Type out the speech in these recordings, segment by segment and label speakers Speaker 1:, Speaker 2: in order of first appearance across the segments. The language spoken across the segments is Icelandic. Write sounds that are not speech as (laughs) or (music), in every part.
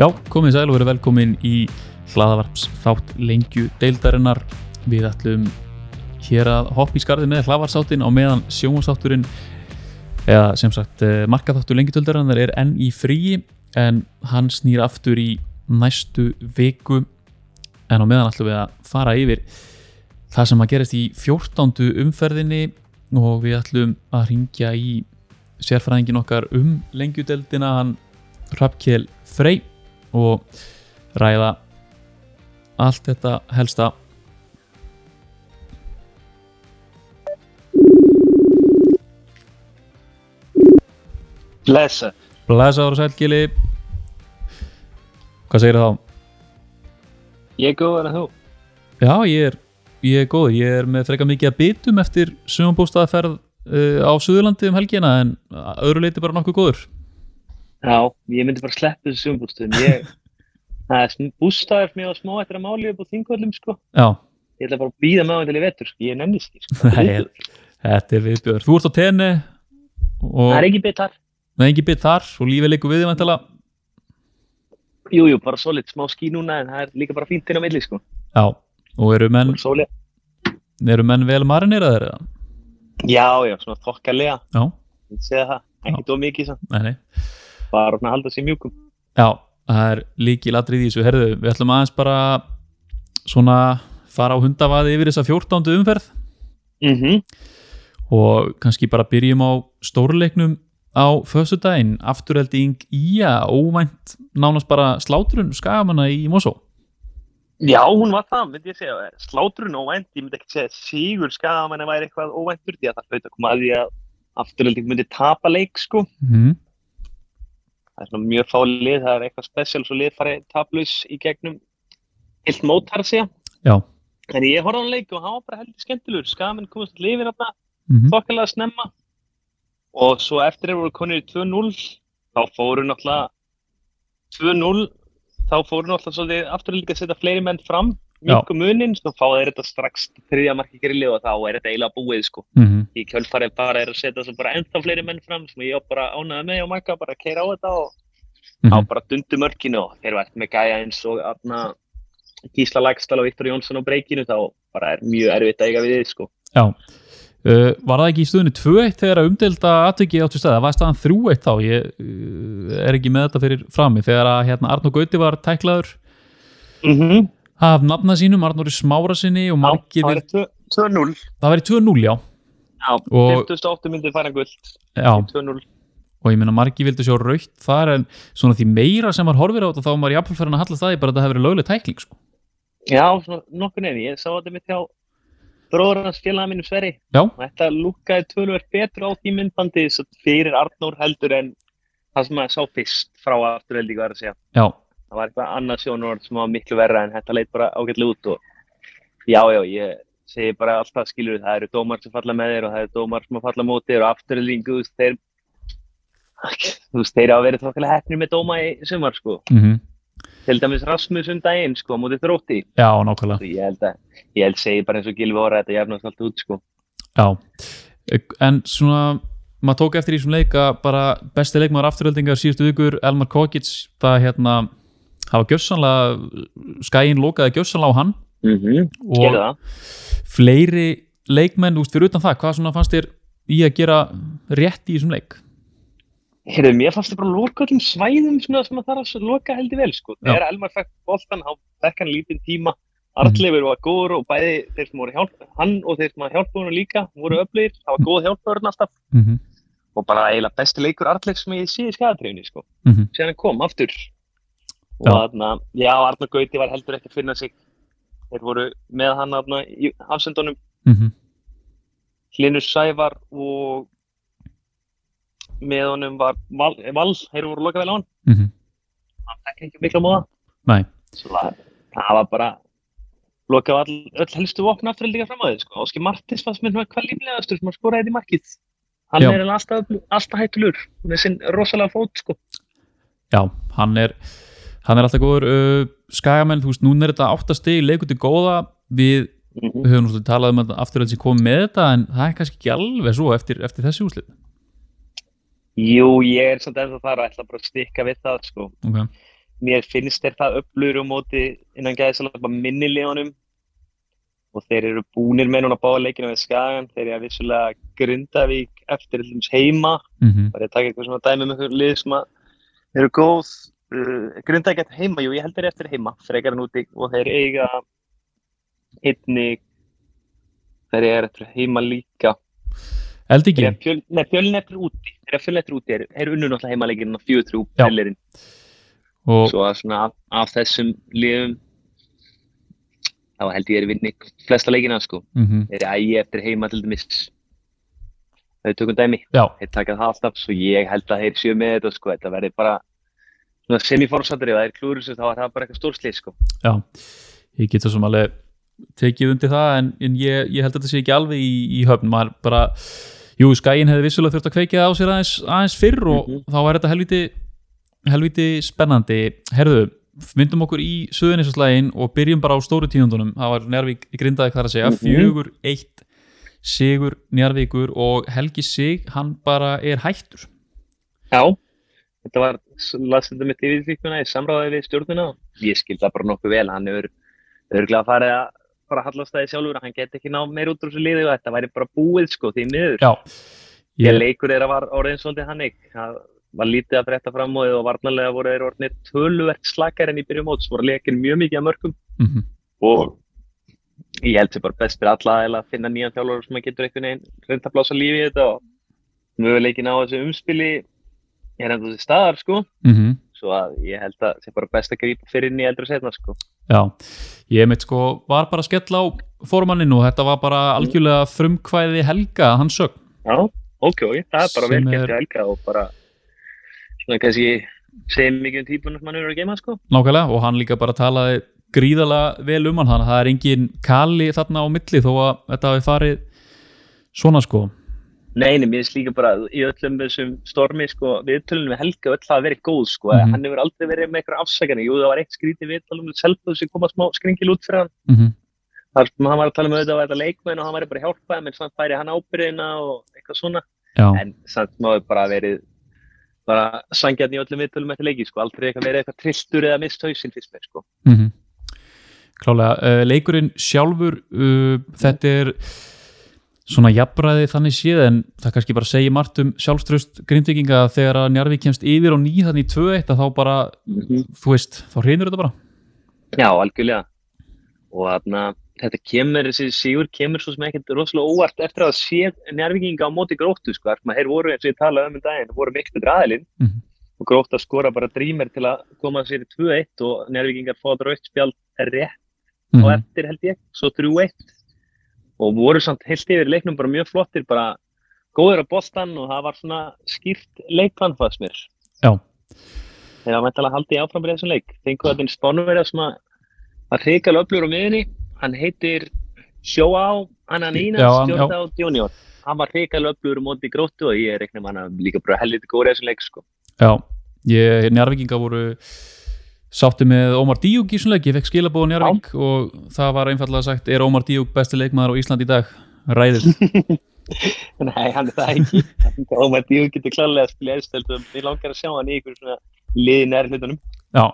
Speaker 1: Já, komið sæl og verið velkomin í hlaðavarps þátt lengju deildarinnar. Við ætlum hér að hoppa í skarði með hlaðvarsáttin á meðan sjónvarsátturinn eða sem sagt eh, markaþáttur lengjudeildarinnar er enn í fríi en hann snýr aftur í næstu viku en á meðan ætlum við að fara yfir það sem að gerist í 14. umferðinni og við ætlum að ringja í sérfræðingin okkar um lengjudeildina hann Hrafkel Frey og ræða allt þetta helsta
Speaker 2: Blessa.
Speaker 1: Blesaður og sælgili Hvað segir þá?
Speaker 2: Ég er góður en þú.
Speaker 1: Já, ég er, ég er góð Ég er með freka mikið að bitum eftir sumumbústaðaferð uh, á Suðurlandi um helgina en að öðru leiti bara nokkuð góður
Speaker 2: Já, ég myndi bara sleppa þessu sumbústöðum. Ég, (laughs) það er sm- bústaður mjög smá eftir að máli upp á þingvöllum, sko.
Speaker 1: Já,
Speaker 2: Ég ætla bara að býða með hann til í vetur, sko. Ég nefnist því, sko.
Speaker 1: Nei, ég- þetta er viðbjör Þú ert á tenni og
Speaker 2: Það er
Speaker 1: það
Speaker 2: ekki bitar.
Speaker 1: er engin bit þar og lífið leikur við því vantala
Speaker 2: Jú, jú, bara solid, smá skí núna, en það er líka bara fínt inn á milli, sko.
Speaker 1: Já, og eru menn,
Speaker 2: Bara Sóli.
Speaker 1: eru menn vel marineraðir eða?
Speaker 2: Já, já, svona þokkalega.
Speaker 1: Já,
Speaker 2: Ég segi það, ekkert of mikið, sann.
Speaker 1: nei, nei
Speaker 2: Bara svona halda sér mjúkum.
Speaker 1: Já, það er líkil atrið í þessu Herðu, við ætlum aðeins bara svona fara á hundavaði yfir þessa 14. umferð
Speaker 2: Mm
Speaker 1: og kannski bara byrjum á stórleiknum á föstudaginn, afturhelding íja, óvænt nánast bara slátrun skagamanna í Mosó
Speaker 2: Já, hún var það, myndi ég segja. Slátrun óvænt, ég myndi ekki segja sigur skagamann en væri eitthvað óvæntur, því að það hlaut að koma að því að afturölding myndi tapa leik, sko.
Speaker 1: mm.
Speaker 2: það er svona mjög fá lið, það er eitthvað spesial svo lið farið tablaus í gegnum heilt mótar sig.
Speaker 1: Já.
Speaker 2: En ég horfði á hann leik og hann var bara heldur skemmtilegur, skaminn komast til lifin þarna,
Speaker 1: Mm
Speaker 2: þokkalega snemma. Og svo eftir þeir voru konir í 2-0, þá fóru náttúrulega 2-0, þá fóru náttúrulega svolítið aftur líka að setja fleiri menn fram,
Speaker 1: Já.
Speaker 2: mjög munin, svo fá þeir þetta strax þriðja marki grillið og þá er þetta eiginlega búið sko
Speaker 1: -hmm.
Speaker 2: í kjölfarið bara er að setja svo bara ennþá fleiri menn fram sem ég á bara ánaði með og makka bara að keira á þetta og
Speaker 1: Mhm.
Speaker 2: á bara dundu mörkinu og þeir vært með gæja eins og atna, Gísla Lagstall og Viktor Jónsson á breykinu þá bara er mjög erfitt að eiga við þið sko.
Speaker 1: Já Uh, var það ekki í stöðunni 2-1 þegar að umdelda atviki áttu stæða, var staðan 3-1 þá ég uh, er ekki með þetta fyrir frami þegar að hérna Arnó Gauti var tæklaður
Speaker 2: Mm -hmm.
Speaker 1: af nafna sínum, Arnóri Smára sinni og margir
Speaker 2: það
Speaker 1: við,
Speaker 2: er 2-0
Speaker 1: það væri 2-0 já,
Speaker 2: Já,
Speaker 1: Og-
Speaker 2: 58 myndið fara gullt
Speaker 1: já
Speaker 2: 2-0
Speaker 1: og ég meina margir vildi sjá raukt þar en svona því meira sem maður horfir á þetta þá er maður jafnvel fyrir að hallast það í bara að þetta hefur verið lögleg tækling sko.
Speaker 2: Já, svona nokkur nefn, ég sá þetta mitt hjá bróður hans félaga mínum Sverri
Speaker 1: Já.
Speaker 2: og þetta lúkkaði tölver betur á því myndbandi svo fyrir Arnór heldur en það sem maður sá fyrst frá afturveldi var að segja
Speaker 1: já,
Speaker 2: það var eitthvað annað sjónvörð sem var miklu verra en þetta leit bara ágætlega út og já, já, ég segi bara alltaf skilur það eru dómar sem falla með þér og það eru dómar sem falla móti þér og afturlýningu, þú veist, þeir þú veist, þeir hafa verið þokkilega hefnir með dóma í sumar, sko
Speaker 1: mm
Speaker 2: til dæmis Rasmus um daginn, sko, á móti þrótti
Speaker 1: já, nákvæmlega
Speaker 2: og ég held að, ég held segi bara eins og Gilvi orða þetta jafnast allt út, sko
Speaker 1: já. en svona maður tók eftir í þessum leika bara besti leikmaður afturöldingar síðustu vikur Elmar Kokic, það hérna hafa gjössanlega skæin lokaði gjössanlega á hann
Speaker 2: mm -hmm.
Speaker 1: og
Speaker 2: það
Speaker 1: fleiri leikmenn úst fyrir utan það, hvað svona fannst þér í að gera rétt í þessum leik
Speaker 2: Heyrðu, mér fannst það bara að loka öllum svæðum svona sem að það er að loka heldur vel sko.
Speaker 1: Já.
Speaker 2: Þegar Elmar fekk boltan, hann fekk hann lítinn tíma, Arleifur
Speaker 1: Mhm.
Speaker 2: var góður og bæði þeir sem voru hjálp, hann og þeir sem var hjálpunum líka voru öflugir, það var góð hjálpurinn alltaf
Speaker 1: mm -hmm.
Speaker 2: og bara eiginlega besti leikur Arleif sem ég sé í skadatreyfni sko.
Speaker 1: Mm -hmm.
Speaker 2: Sér hann kom aftur og
Speaker 1: Já.
Speaker 2: þarna, já, Arnar Gauti var heldur ekki að finna sig, þeir voru með hann þarna í afsendunum,
Speaker 1: Mhm,
Speaker 2: Hlinur Sævar og með honum var Val, Val þeir voru lokað vel á hann. ekki ekki mikla móða.
Speaker 1: mhm. Nei.
Speaker 2: Svo það, það var bara lokað á all, öll helstu vopn aftur líka fram á þig, sko. Áski Martins fannst mér svona hvað líflegastur sem að skora þetta í markið. Hann
Speaker 1: Já.
Speaker 2: er eiginlega alltaf, alltaf hættulur með sinn rosalega fót, sko.
Speaker 1: Já, hann er hann er alltaf góður uh, skagamenn, þú veist, núna er þetta áttastig leikur til góða, við höfum náttúrulega talað um að afturöld sem kom með þetta en það er kannski ekki alveg svo eftir, eftir þessi úslit
Speaker 2: Jú, ég er samt ennþá þar að ætla bara að stikka við það, sko.
Speaker 1: okay.
Speaker 2: mér finnst þeir það upplöður á móti innan gæðisalega bara minni liðanum og þeir eru búnir með núna báða leikina við Skagan, þeir eru að vissulega Grindavík eftir allums heima
Speaker 1: mm -hmm.
Speaker 2: bara ég taka eitthvað svona dæmi um einhver lið sem að eru góð uh, Grindavík eftir heima, jú ég held þeir eru eftir heima frekar en úti og þeir eiga einni þeir eru eftir heima líka þeir eru
Speaker 1: Eldingin,
Speaker 2: að fjöl, nei, fjölin eftir úti þeir eru að fjölin eftir úti, þeir- þeir eru unnu náttúrulega heimaleikinn og fjögur
Speaker 1: Já.
Speaker 2: trú
Speaker 1: og
Speaker 2: svo að svona af, af þessum liðum þá held ég er vinni flesta leikina sko
Speaker 1: mm
Speaker 2: þeir eru ægi eftir heima til dæmis þau tökum dæmi,
Speaker 1: já,
Speaker 2: þeir taka það alltaf svo ég held að þeir séu með þetta sko þetta verði bara svona semi-fórsatri ef það er klúrur sem þá er það bara eitthvað stórslið sko
Speaker 1: já ég get svo sem alveg tekið undir það en, en ég, ég held að þetta sé ekki alveg í, í höfn maður bara, jú, skæin hefði vissulega þurft að kveikja á sér aðeins, aðeins fyrr og
Speaker 2: Mhm.
Speaker 1: þá var þetta helviti helviti spennandi, herðu myndum okkur í söðunisaslægin og byrjum bara á stóru tíundunum, það var Njárvík í grindaði hvað að segja,
Speaker 2: Mhm.
Speaker 1: fjögur eitt Sigur Njárvíkur og Helgi Sig, hann bara er hættur
Speaker 2: já, þetta var lasið þetta mitt yfirþykuna í samráði við stjórnuna ég skil það bara nokkuð vel, hann hefur örglega farið að bara hallast það í sjálfur hann geti ekki ná meir út úr þessu liði og þetta væri bara búið sko því miður
Speaker 1: já,
Speaker 2: Ég leikur þeirra var orðin svolítið hannig. Það var lítið að breytta fram og, og varnarlega voru þeir orðinir töluvert slakar en í byrjum móts. Voru leikir mjög mikið að mörgum
Speaker 1: mhm,
Speaker 2: og ég held sér bara best fyrir alla aðeila að finna nýjan þjálfur sem að getur einhvern veginn reynd að blása lífi í þetta og möguleikin á þessu umspili er enda þessi staðar sko.
Speaker 1: mhm
Speaker 2: Svo að ég held að sé bara best að grípa fyrir inn í eldra setna sko.
Speaker 1: Já, ég mitt sko var bara að skella á formanninu og þetta var bara algjörlega frumkvæði helga að hann sög.
Speaker 2: Já, ok, ok, það er bara
Speaker 1: Sem
Speaker 2: vel gert
Speaker 1: er-
Speaker 2: í helga og bara svona kannski segir mikið um típunum sem hann eru að geima sko.
Speaker 1: Nákvæmlega og hann líka bara talaði gríðalega vel um hann þannig að það er engin kali þarna á milli þó að þetta hafi farið svona sko.
Speaker 2: Nei, nei, mér finnst líka bara í öllum þessum stormi, sko, viðtölunum við Helga, öll hafa verið góð, sko,
Speaker 1: Mhm.
Speaker 2: hann hefur aldrei verið með eitthvað afsakana, jú, það var eitt skrítið viðtölum við Selfoss sem kom að smá skringil út fyrir hann,
Speaker 1: Mm
Speaker 2: þar sem hann var að tala um auðvitað að þetta leikmenn og hann var bara að hjálpa þeim, en samt færi hann ábyrðina og eitthvað svona,
Speaker 1: Já,
Speaker 2: en samt maður bara verið bara sangjarn í öllum viðtölum eftir leiki, sko, aldrei eitthvað verið eitthvað trilltur eða mist hausinn fyrst mér, sko.
Speaker 1: mm klálega. Uh, leikurinn sjálfur, uh, þetta er svona jafnræði þannig séð en það kannski bara segir margt um sjálfströst grindvikinga að þegar að Njarvík kemst yfir og nýð þannig í 2-1 að þá bara, þú veist, þá hreinur þetta bara.
Speaker 2: Já, algjörlega og þarna, þetta kemur, þessi sigur kemur svo sem ekkert rosalega óvart eftir að sé njárvikinga á móti gróttu sko, þar sem að þeir voru eins og ég talaði um um daginn, voru miklu draðilinn
Speaker 1: Mhm.
Speaker 2: og grótt að skora bara drýmer til að koma sér í 2-1 og njárvikingar fá rautt spjald rétt
Speaker 1: Mm
Speaker 2: á eftir held ég, svo 3-1 og voru samt heilt yfir í leiknum bara mjög flottir, bara góður á boltan og það var svona skýrt leikplan fannst mér
Speaker 1: Já.
Speaker 2: Þeir hafa mæntalega haldið áfram með þessum leik. Fengu þetta einn spánverja sem að var hrikal öflur á miðinni. Hann heitir Sjóá Ananínas
Speaker 1: Já, hann- já.
Speaker 2: Stjórndá Junior. Hann var hrikal öflur á móti gróttu og ég reikna með hann að líka bara helviti góður í þessum leik sko.
Speaker 1: Já, ég, njárvikinga voru sátti með Ómar Díug í svona leik, ég fekk skilabóð á Njárvík og það var einfallega sagt, er Ómar Díug besti leikmaður á Ísland í dag? Ræðið.
Speaker 2: Nei, hann er það ekki. Og maður dýður getur klarlega að spila eðstöldum. Ég langar að sjá hann í ykkur svona liðin er hlutunum.
Speaker 1: Já,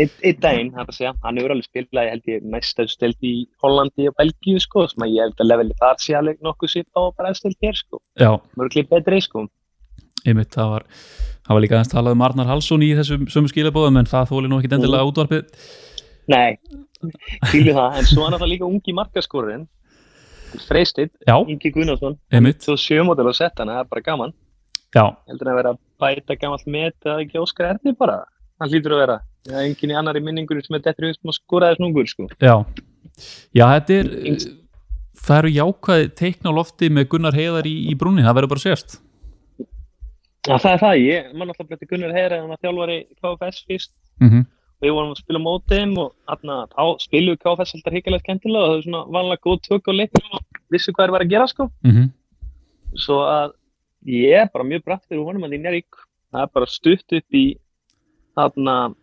Speaker 2: Einn einn daginn, hann að segja, hann hefur alveg spilað, ég held ég, mest eðstöld í Hollandi og Belgíu sko, sem að ég held að leveli þar sé alveg nokkuð sitt á bara eðstöld hér sko.
Speaker 1: já,
Speaker 2: Mörg klip betri sko.
Speaker 1: einmitt, það var, það var líka aðeins talað um Arnar Hallsson í þessum sömu skilabóðum en það þóli nú ekkit endilega útvarpið.
Speaker 2: Nei, kýlu það, en svo er náttúrulega líka ungi markaskorurinn, Freysteinn,
Speaker 1: Já,
Speaker 2: Ingi Gunnarsson,
Speaker 1: einmitt,
Speaker 2: svo sjömótil og sett hann, það er bara gaman.
Speaker 1: já,
Speaker 2: Heldur hann að vera að bæta gamalt met eða ekki Óskar Erni bara, hann hlýtur að vera. Það er enginn í annari minningur sem er dettur út sem að skora þess núngur, sko.
Speaker 1: já. Já, þetta er, eh, það eru jákvæði teikna á lofti með Gunnar Heiðar í, í brúnni, það verður bara sérst.
Speaker 2: Já, það er það, ég, mann alltaf betur Gunnar Heyra, hann var þjálfari KFS fyrst,
Speaker 1: Mm -hmm.
Speaker 2: við vorum að spila mótið þeim og þarna, þá spiluðu KFS alltaf hrikalegt kendilega og það er svona vanlega góð tök á leiknum og vissu hvað er verið að gera, sko. svo að ég er bara mjög bratt fyrir honum að í Njarvík það er bara stutt upp í þarna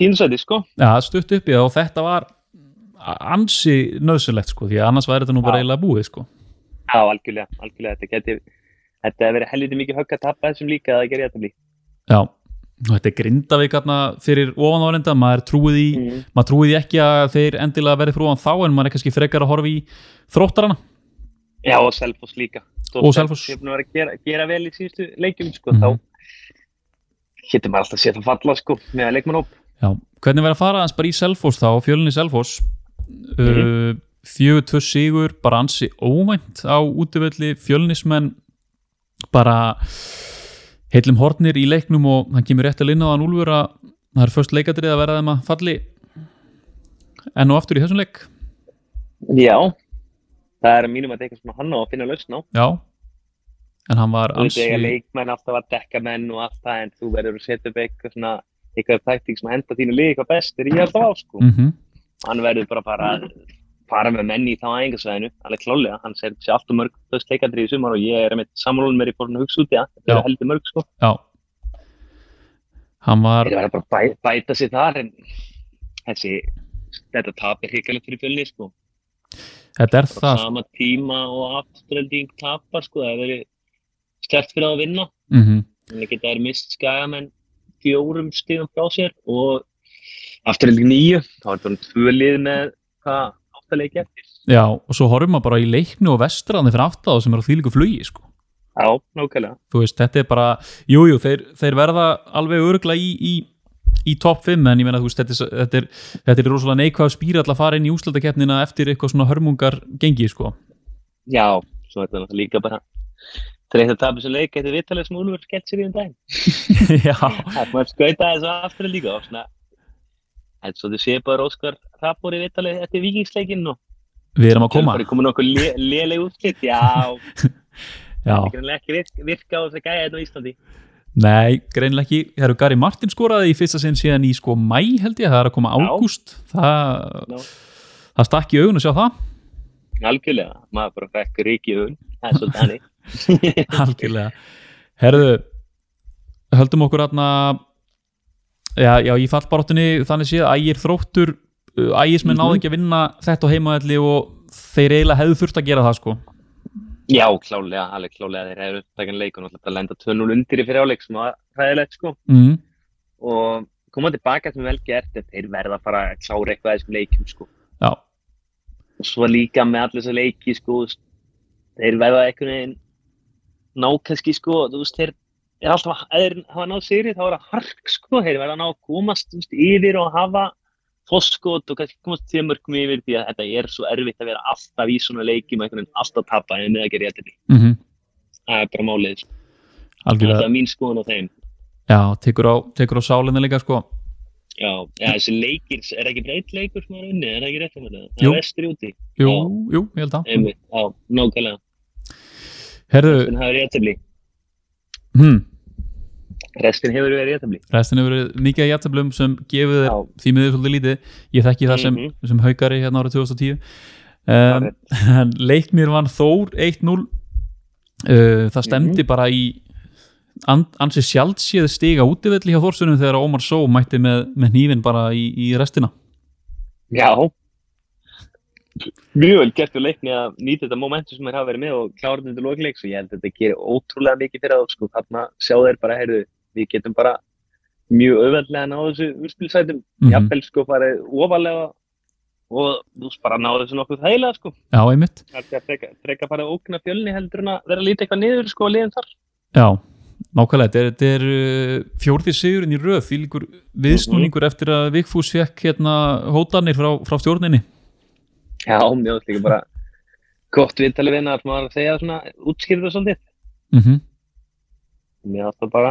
Speaker 2: tínsæti sko
Speaker 1: Já, það stutt upp í það og þetta var ansi nöðsulegt sko því að annars væri þetta nú bara
Speaker 2: Já.
Speaker 1: eiginlega búið sko
Speaker 2: já algjörlega, algjörlega þetta geti þetta hefur verið helviti mikið högg að tappa þessum líka að það gerir þetta blí
Speaker 1: Já, og þetta er grindavík hérna fyrir ofan árenda, maður trúið í
Speaker 2: Mm.
Speaker 1: maður trúið í ekki að þeir endilega verði fyrir ofan þá en maður er kannski frekar að horfa í þróttarana
Speaker 2: Já, og Selfoss líka. Þó
Speaker 1: Og Selfoss.
Speaker 2: Ég er búin að vera að gera, gera vel í síðustu leikjum, sko,
Speaker 1: Mhm.
Speaker 2: þá getur maður alltaf séð það falla, sko, með að leikmann upp.
Speaker 1: Já, hvernig verður að fara aðeins bara í Selfoss þá, fjölinni Selfoss uh, 4-2 sigur bara ansi óvænt á útvöldi fjölinnismenn bara heilum hornir í leiknum og hann kemur rétt að linna á þann Úlfur að það er först leikadrið að verða þeim að falli enn og aftur í þessum leik
Speaker 2: Já, það er að mínum að þetta er eitthvað sem hann á að finna lausn á.
Speaker 1: Já en hann var
Speaker 2: Þú veit,
Speaker 1: ansi
Speaker 2: eiga leikmenn alltaf að dekka menn og allt það, en þú verður að setja upp eitthvað svona, eitthvað taktík sem henda þínu liði eitthvað best, er ég alltaf á, sko.
Speaker 1: mm -hmm.
Speaker 2: Hann verður bara að fara, fara með menn í þá æfingasvæðinu, alveg klálega, hann ser sér allt og mörg þess leikandri í sumar og ég er með samrólum með í fórn að hugsa út í það, þetta
Speaker 1: Já.
Speaker 2: er heldur mörg, sko.
Speaker 1: Já Hann var
Speaker 2: Þeir verða bara að bæ, bæta sér þar en þessi, þetta tap er hrikalegt fyrir fjölni sko.
Speaker 1: Þetta er
Speaker 2: Bara
Speaker 1: það sko.
Speaker 2: sama tíma og afturölding tapar sko, það er verið stert fyrir þá að vinna.
Speaker 1: mm
Speaker 2: Þannig geta þær mist skagamenn fjórum stíðum frá sér og afturölding nýju, þá er það tvö lið með hvað áttalegi eftir.
Speaker 1: Já, og svo horfum maður bara í leiknu og vestraðni fyrir aftáð sem er á þýlíku flugi sko.
Speaker 2: Já, nákvæmlega.
Speaker 1: þú veist, þetta er bara jújú, jú, þeir, þeir verða alveg örgla í, í, í topp 5 en ég meina, þú veist, þetta er, þetta er, þetta er rosalega neikvæð spýra alltaf að fara inn í úslatakeppnina eftir eitthvað svona hörmungar gengi sko.
Speaker 2: Já, svo er þetta náttúrulega líka bara þreytt að tapa þessu leik, þetta er vitalið sem Úlfur skett sér í um daginn.
Speaker 1: já,
Speaker 2: Það maður skauta þessu aftur líka og svona en svo þið séu bara Óskar Rappur í vitalið eftir vikingsleikinn og
Speaker 1: við erum að koma
Speaker 2: bara komin okkur lé- léleg útslitt já,
Speaker 1: já,
Speaker 2: það er ekki virk, virka á þess að gæja þetta á Íslandi
Speaker 1: nei, greinilega ekki það eru Gary Martin skoraði í fyrsta sinn síðan í sko mæ held ég, það er að koma
Speaker 2: Já.
Speaker 1: ágúst það,
Speaker 2: Já.
Speaker 1: það stakk í augun að sjá það
Speaker 2: algjörlega, maður bara fekk ríki hún það er svolítið hannig
Speaker 1: algjörlega, herðu höldum okkur aðna já, já, í fallbaráttunni þannig séð ægir þróttur uh, ægismenn
Speaker 2: Mhm.
Speaker 1: náðu ekki að vinna þetta á heimaðalli og þeir eiginlega hefðu þurft að gera það sko
Speaker 2: já, klálega, alveg klálega þeir hefur upptakan leik og náttúrulega lenda 2-0 undir í fyrir áleik sem var hræðilegt sko
Speaker 1: mm.
Speaker 2: og koma tilbaka sem vel gert en þeir verða bara að klára eitthvað að þessum leikum sko
Speaker 1: já,
Speaker 2: og svo líka með allir þessar leiki sko, þú veist, þeir verða einhvern veginn ná kannski sko, þú veist, þeir er alltaf að þeir hafa náð sigri þá er það hark sko, þeir verða að ná að komast þú veist, yfir og hafa fosskot og kannski komast til mörgum yfir því að þetta er svo erfitt að vera alltaf í svona leiki með einhvern veginn alltaf tapa en með að gera réttinni,
Speaker 1: mm
Speaker 2: það er bara málið sko.
Speaker 1: algjörlega,
Speaker 2: það er mín skoðun á þeim
Speaker 1: já, tekur á, tekur á sálinni líka sko
Speaker 2: Já, eða þessi leikir, er ekki breytt leikur sem er unni, er það ekki rétt um þetta? Það
Speaker 1: Jú.
Speaker 2: er vestur úti,
Speaker 1: jú,
Speaker 2: Já. Eh.
Speaker 1: jú, ég held að
Speaker 2: einmitt, já, nákvæmlega,
Speaker 1: herðu,
Speaker 2: en það er réttabli,
Speaker 1: hm,
Speaker 2: restin hefur verið réttabli.
Speaker 1: restin hefur verið mikið að jættablum sem gefið þeir
Speaker 2: Já,
Speaker 1: því miður svolítið lítið, ég þekki það sem, sem haukari hérna árið 2010 um,
Speaker 2: Hárrétt.
Speaker 1: (laughs) en leiknir vann Þór 1-0 uh, það stemdi bara í an, ansi sjálfséð stiga útivelli hjá Þórsunum þegar Ómar Só mætti með, með hnífin bara í, í restina
Speaker 2: Já. Mjög vel gert við leikni að nýta þetta momentum sem þeir hafa verið með og klára þetta til lokleik svo ég held að þetta gerir ótrúlega mikið fyrir þá sko þarna sjá þeir bara, heyrðu, við getum bara mjög auðveldlega ná þessu úrspilsætum,
Speaker 1: Mhm.
Speaker 2: jafnvel sko farið ofalega og þú veist bara ná þessu nokkuð þægilega sko
Speaker 1: já, einmitt,
Speaker 2: það er freka, freka farið ógna fjölni heldur en að vera að líta eitthvað niður sko og liðin þar
Speaker 1: já, nákvæmlega þetta er, þetta er uh, fjórðir sigurinn í röð fylgur viðsnúningur eftir að Vigfús fekk hérna hótanir frá, frá stjórninni
Speaker 2: Já, mjög vel líka bara gott viðtalið við hennar, maður að segja svona útskýrðu svolítið
Speaker 1: mm
Speaker 2: mér fannst það bara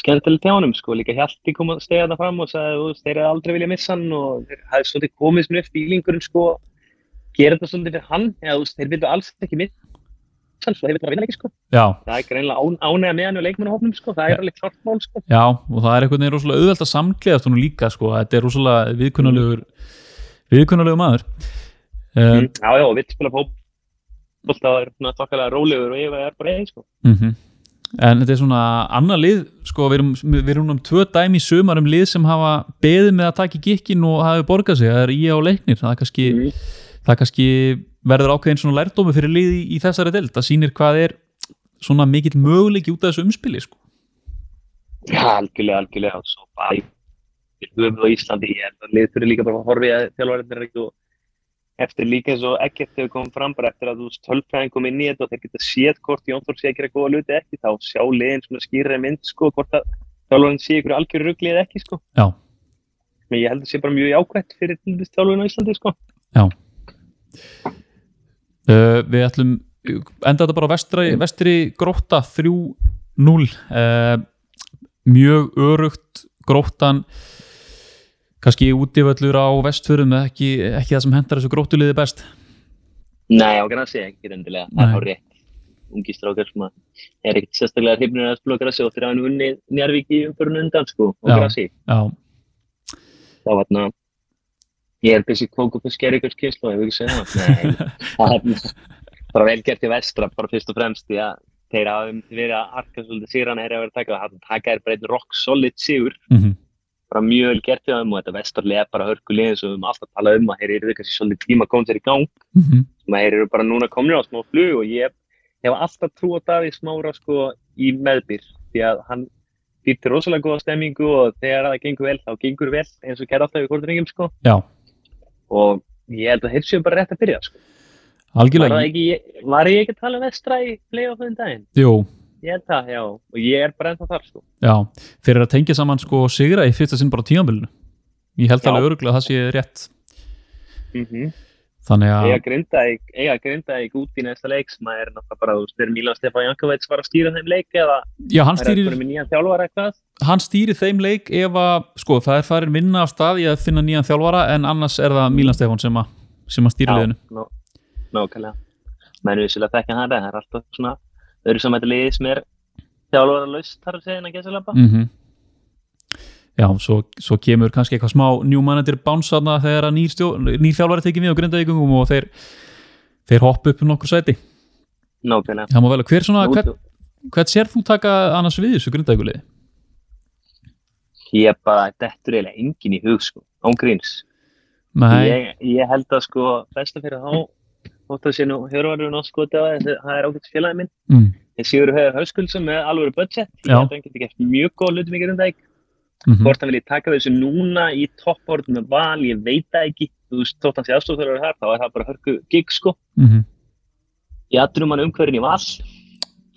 Speaker 2: skemmtilegt hjá honum sko, líka Hjalti kom að stegja það fram og sagði, þú veist, þeir eru aldrei vilja missa hann og þeir hafði svolítið komið svona upp fílingurinn sko, gera þetta svolítið fyrir hann, eða þú veist, þeir vilja alls ekki missa hann, svo þeir vilja bara vinna leikið sko,
Speaker 1: já,
Speaker 2: það er greinilega án, ánægða með hann og leikmannahófnum sko, það
Speaker 1: Ja.
Speaker 2: er alveg klart mál sko.
Speaker 1: Já, og það er einhvern veginn rosalega auðvelt að samkleðast hún líka, sko, þetta er rosalega viðkunnulegur viðkunnulegur maður um,
Speaker 2: Já, já, og við spila fóp, það er svona þokkalega rólegur og ég er bara einn sko.
Speaker 1: mm en þetta er svona annað lið, sko, við erum, við erum um tvö dæmi í sumar um lið sem hafa beðið með að taka í gikkin og hafi borgað sig það er ég á leiknir, það er kannski
Speaker 2: Mm.
Speaker 1: það kannski verður ákveðin svona lærdómi fyrir lið í, í þessari deild, það sýnir hvað er svona mikill möguleiki út af þessu umspili, sko
Speaker 2: Já, algjörlega, algjörlega. Svo bara í- við höfum á Íslandi, ég held að lið þurfi líka bara að horfa í að þjálfarinnir ekki og eftir líka eins og ekkert hefur komið fram bara eftir að þú veist tölfræðin kom inn í þetta og þeir geta séð hvort Jónþór sé að gera góða luti ekki, þá sjá liðin svona skýrri mynd sko, hvort að þjálfarinn sé ykkur algjör rugli eða ekki sko.
Speaker 1: Já.
Speaker 2: Men ég held að það sé bara mjög jákvætt fyrir tildist þjálfarinn á Íslandi sko.
Speaker 1: Uh, við ætlum enda þetta bara á vestri, vestri gróta 3-0 uh, mjög örugt gróttan kannski útivöllur á vestförum eða ekki, ekki það sem hendar þessu grótuliði best
Speaker 2: Nei, á grasi ekki endilega, það
Speaker 1: Nei.
Speaker 2: er á rétt. Ungi strákar sem að er ekkert sérstaklega hrifnir að spila á grasi og þeir hafa nú unnið Njarvík í umförun undan sko, á
Speaker 1: Já.
Speaker 2: grasi.
Speaker 1: já,
Speaker 2: Þá var þarna, ég er byrjus í kóku fyrir skerrikurs kynslu, ég vil ekki segja það.
Speaker 1: (laughs)
Speaker 2: Nei, það er þarna- bara vel gert í vestra, bara fyrst og fremst, því að þeir hafa verið að harka svolítið síðan að þeir hafa verið að taka, þannig að taka er bara einn rock solid sigur
Speaker 1: mhm
Speaker 2: bara mjög vel gert hjá þeim og þetta vestarlega er bara hörkulegin sem við höfum alltaf talað um að þeir eru kannski svolítið tíma að koma sér í gang
Speaker 1: mhm,
Speaker 2: sem að þeir eru bara núna komnir á smá flug og ég hef alltaf trú á Davíð Smára sko í meðbyr því að hann býtti rosalega góða stemmingu og þegar það gengur vel þá gengur vel eins og gerði alltaf í kortringum sko
Speaker 1: já,
Speaker 2: og ég held að þeir séu bara rétt að byrja sko. var,
Speaker 1: algjörlega
Speaker 2: það ekki, var ég ekki að tala um vestra í playoffum daginn?
Speaker 1: jú,
Speaker 2: Ég held það, já, og ég er bara ennþá þar sko.
Speaker 1: já, fyrir að tengja saman sko sigra í fyrsta sinn bara á tímabilinu ég held
Speaker 2: Já.
Speaker 1: alveg öruglega að það sé rétt
Speaker 2: Mm -hmm.
Speaker 1: þannig að,
Speaker 2: Eiga Grindavík eiga Grindavík út í næsta leik sem að er náttúrulega bara, þú veist, er Milan Stefán Jankovic var að stýra þeim leik eða
Speaker 1: já, hann
Speaker 2: er það
Speaker 1: stýrir
Speaker 2: komið með nýjan þjálfara eitthvað?
Speaker 1: hann stýrir þeim leik ef að sko, það er farin vinna af stað í að finna nýjan þjálfara en annars er það Mílan Stefán sem, að- sem að stýri liðinu
Speaker 2: Já, nó- Nákvæmlega. Menn við svolítið að þekka hann, en það er alltaf svona öðru saman þetta liðið sem er þjálfara laust þar að segja en að gesa lappa.
Speaker 1: mm Já, svo, svo kemur kannski eitthvað smá new manager bounce þarna þegar að nýr, stjó, nýr þjálfari tekið við á grindavíkungum og þeir, þeir hoppa upp um nokkur sæti
Speaker 2: Nákvæmlega.
Speaker 1: það má vel að hver svona,
Speaker 2: Nú,
Speaker 1: hvern, hvern sér þú taka annars við þessu grindavíkuliði?
Speaker 2: Ég er bara, þetta er eiginlega engin í hug, sko, án gríns.
Speaker 1: Nei,
Speaker 2: Ég, ég held að, sko, besta fyrir þá, þótt að sé nú, Hjörvarður og sko, það er ágætt félagið minn.
Speaker 1: mm,
Speaker 2: Ég séur höfðu hauskulsum með alvöru budget. Ég
Speaker 1: Já.
Speaker 2: held að hann geti gert mjög góð hlutum í gerðum dag.
Speaker 1: mm
Speaker 2: um Hvort hann vilji taka þessu núna í toppbórnum með val, ég veit það ekki. Þú veist, þótt hann sé aðstofþörður þar, þá er það bara hörku gig, sko.
Speaker 1: -hmm,
Speaker 2: í aðrumann umhverfinn í val þá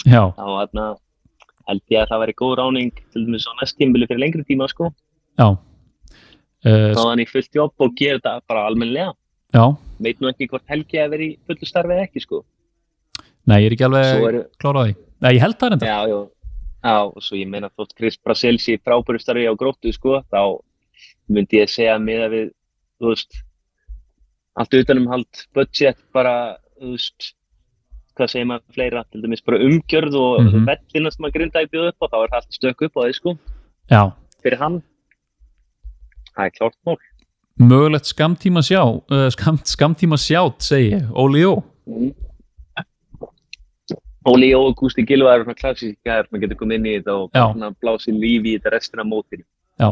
Speaker 1: Já,
Speaker 2: þarna, held ég að það væri góð ráning til dæmis á næst tímbili fyrir lengri tíma sko.
Speaker 1: já uh,
Speaker 2: þá þannig fullt jobb og gera þetta bara almennilega
Speaker 1: Já,
Speaker 2: veit nú ekki hvort helgi að vera í fullu starfi eða ekki sko.
Speaker 1: nei, ég er ekki alveg
Speaker 2: svo
Speaker 1: er...
Speaker 2: eru,
Speaker 1: klárað á því Nei, ég held það reynda
Speaker 2: já, já, já, og svo ég meina þótt Chris Brasil sé í frábæru starfi á gróttu sko, þá myndi ég segja með að við þú veist allt utanum hald budget bara þú veist hvað segir maður fleira, til dæmis bara umgjörð og mm
Speaker 1: Mhm.
Speaker 2: vellina sem að grinda í bjóð upp og þá er það allt stökk upp á því sko
Speaker 1: Já,
Speaker 2: fyrir hann það er klárt mál
Speaker 1: mögulegt skamtíma sjá uh, skam, skamtíma sjátt segi ég, Óli Jó
Speaker 2: Óli Jó og Gústi Gilva eru svona klassísk gæðar maður getur komið inn í þetta og
Speaker 1: Já.
Speaker 2: bara svona blási lífi í þetta restina af mótinu
Speaker 1: já,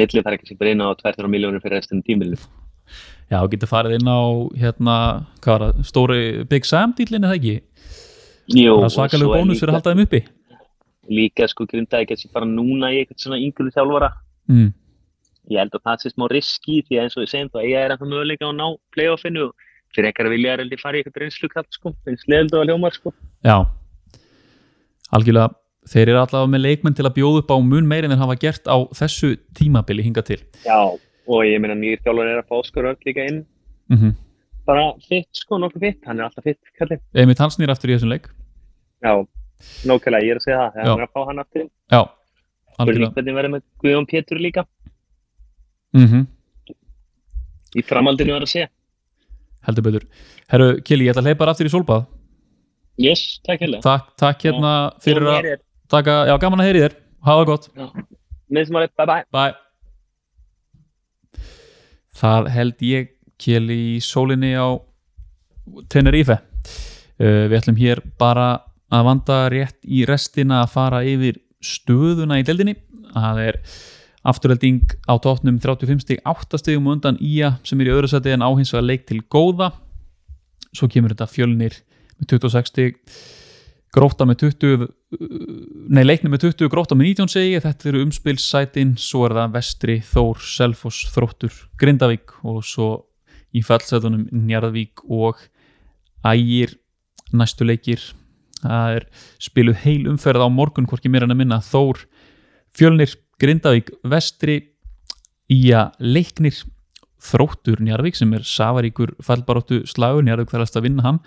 Speaker 2: millið þarf ekki sem bara inn á 200 miljónir fyrir restina af tímilinu
Speaker 1: já, þú getur farið inn á hérna, hvað var það, stóri Big Sam dýlinni það ekki,
Speaker 2: Jó,
Speaker 1: það er svakalegu bónus fyrir að halda þeim uppi
Speaker 2: líka sko grindaði ekki að fara núna í eitthvað svona yngjölu þjálfara
Speaker 1: mm,
Speaker 2: ég held að það sé smá riski því að eins og við segjum þá eiga er ennþá möguleika á að ná playoffinu og fyrir einhverja vilja er heldur fara í eitthvað reynslu kall sko, reynslu heldur að hljómar sko
Speaker 1: já algjörlega, þeir eru allavega með leikmenn til að bjóða upp á mun meir en þeir hafa gert á þessu tímabili hinga til
Speaker 2: Já, og ég meina nýjir þjálfur er að fá sko rögg líka inn
Speaker 1: mm -hmm.
Speaker 2: bara fitt sko, nokkuð fitt, hann er alltaf fitt kallið.
Speaker 1: Emil Hansnýr aftur í þessum leik
Speaker 2: Já, nákvæmlega, ég er að segja það,
Speaker 1: Já.
Speaker 2: þegar hann er að fá hann aftur.
Speaker 1: já,
Speaker 2: Spurning
Speaker 1: algjörlega
Speaker 2: hvernig verður með Guðjón Pétur líka,
Speaker 1: mm
Speaker 2: í framhaldinu er að segja.
Speaker 1: heldur betur herru, Kili, ég ætla að hleypa þér aftur í solbað
Speaker 2: Yes, takk hérlega.
Speaker 1: takk, takk hérna fyrir að
Speaker 2: að...
Speaker 1: taka, já, gaman að heyri þér hafa það gott
Speaker 2: Miðsmáli, bye bye.
Speaker 1: Bye. Það held ég kjeli í sólinni á Tenerife. Uh, við ætlum hér bara að vanda rétt í restina að fara yfir stöðuna í deldinni. Það er afturhelding á tóknum 35 stig, 8 stigum á undan Ía sem er í öðru sæti en á hins vegar leik til góða. Svo kemur þetta fjölnir með 26 stig, gróta með 20, nei, leiknum með 20 grótta með 19 segi ég, þetta eru umspilssætin svo er það Vestri, Þór, Selfoss, Þróttur Grindavík og svo í fallsetunum Njarðvík og Ægir næstu leikir það er spiluð heil umferð á morgun hvorki mér en að minna Þór, Fjölnir, Grindavík Vestri, Ía Leiknir, Þróttur Njarðvík sem er safaríkur fallbaróttu slagur, Njarðvík þarfast að vinna hann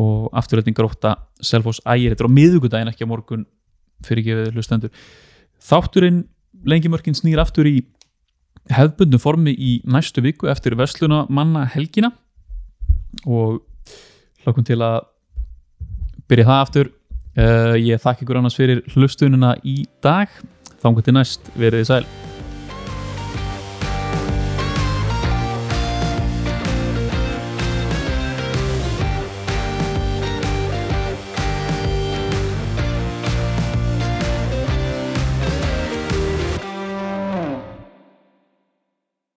Speaker 1: og afturleitin gróta Selfoss ægir, þetta er á miðugudaginn ekki á morgun fyrir ekki við hlustendur þátturinn, lengjumörkin snýr aftur í hefbundum formi í næstu viku eftir versluna manna helgina og hlokkum til að byrja það aftur Eh, uh, ég þakka ykkur annars fyrir hlustununa í dag, þangar til næst verið þið sæl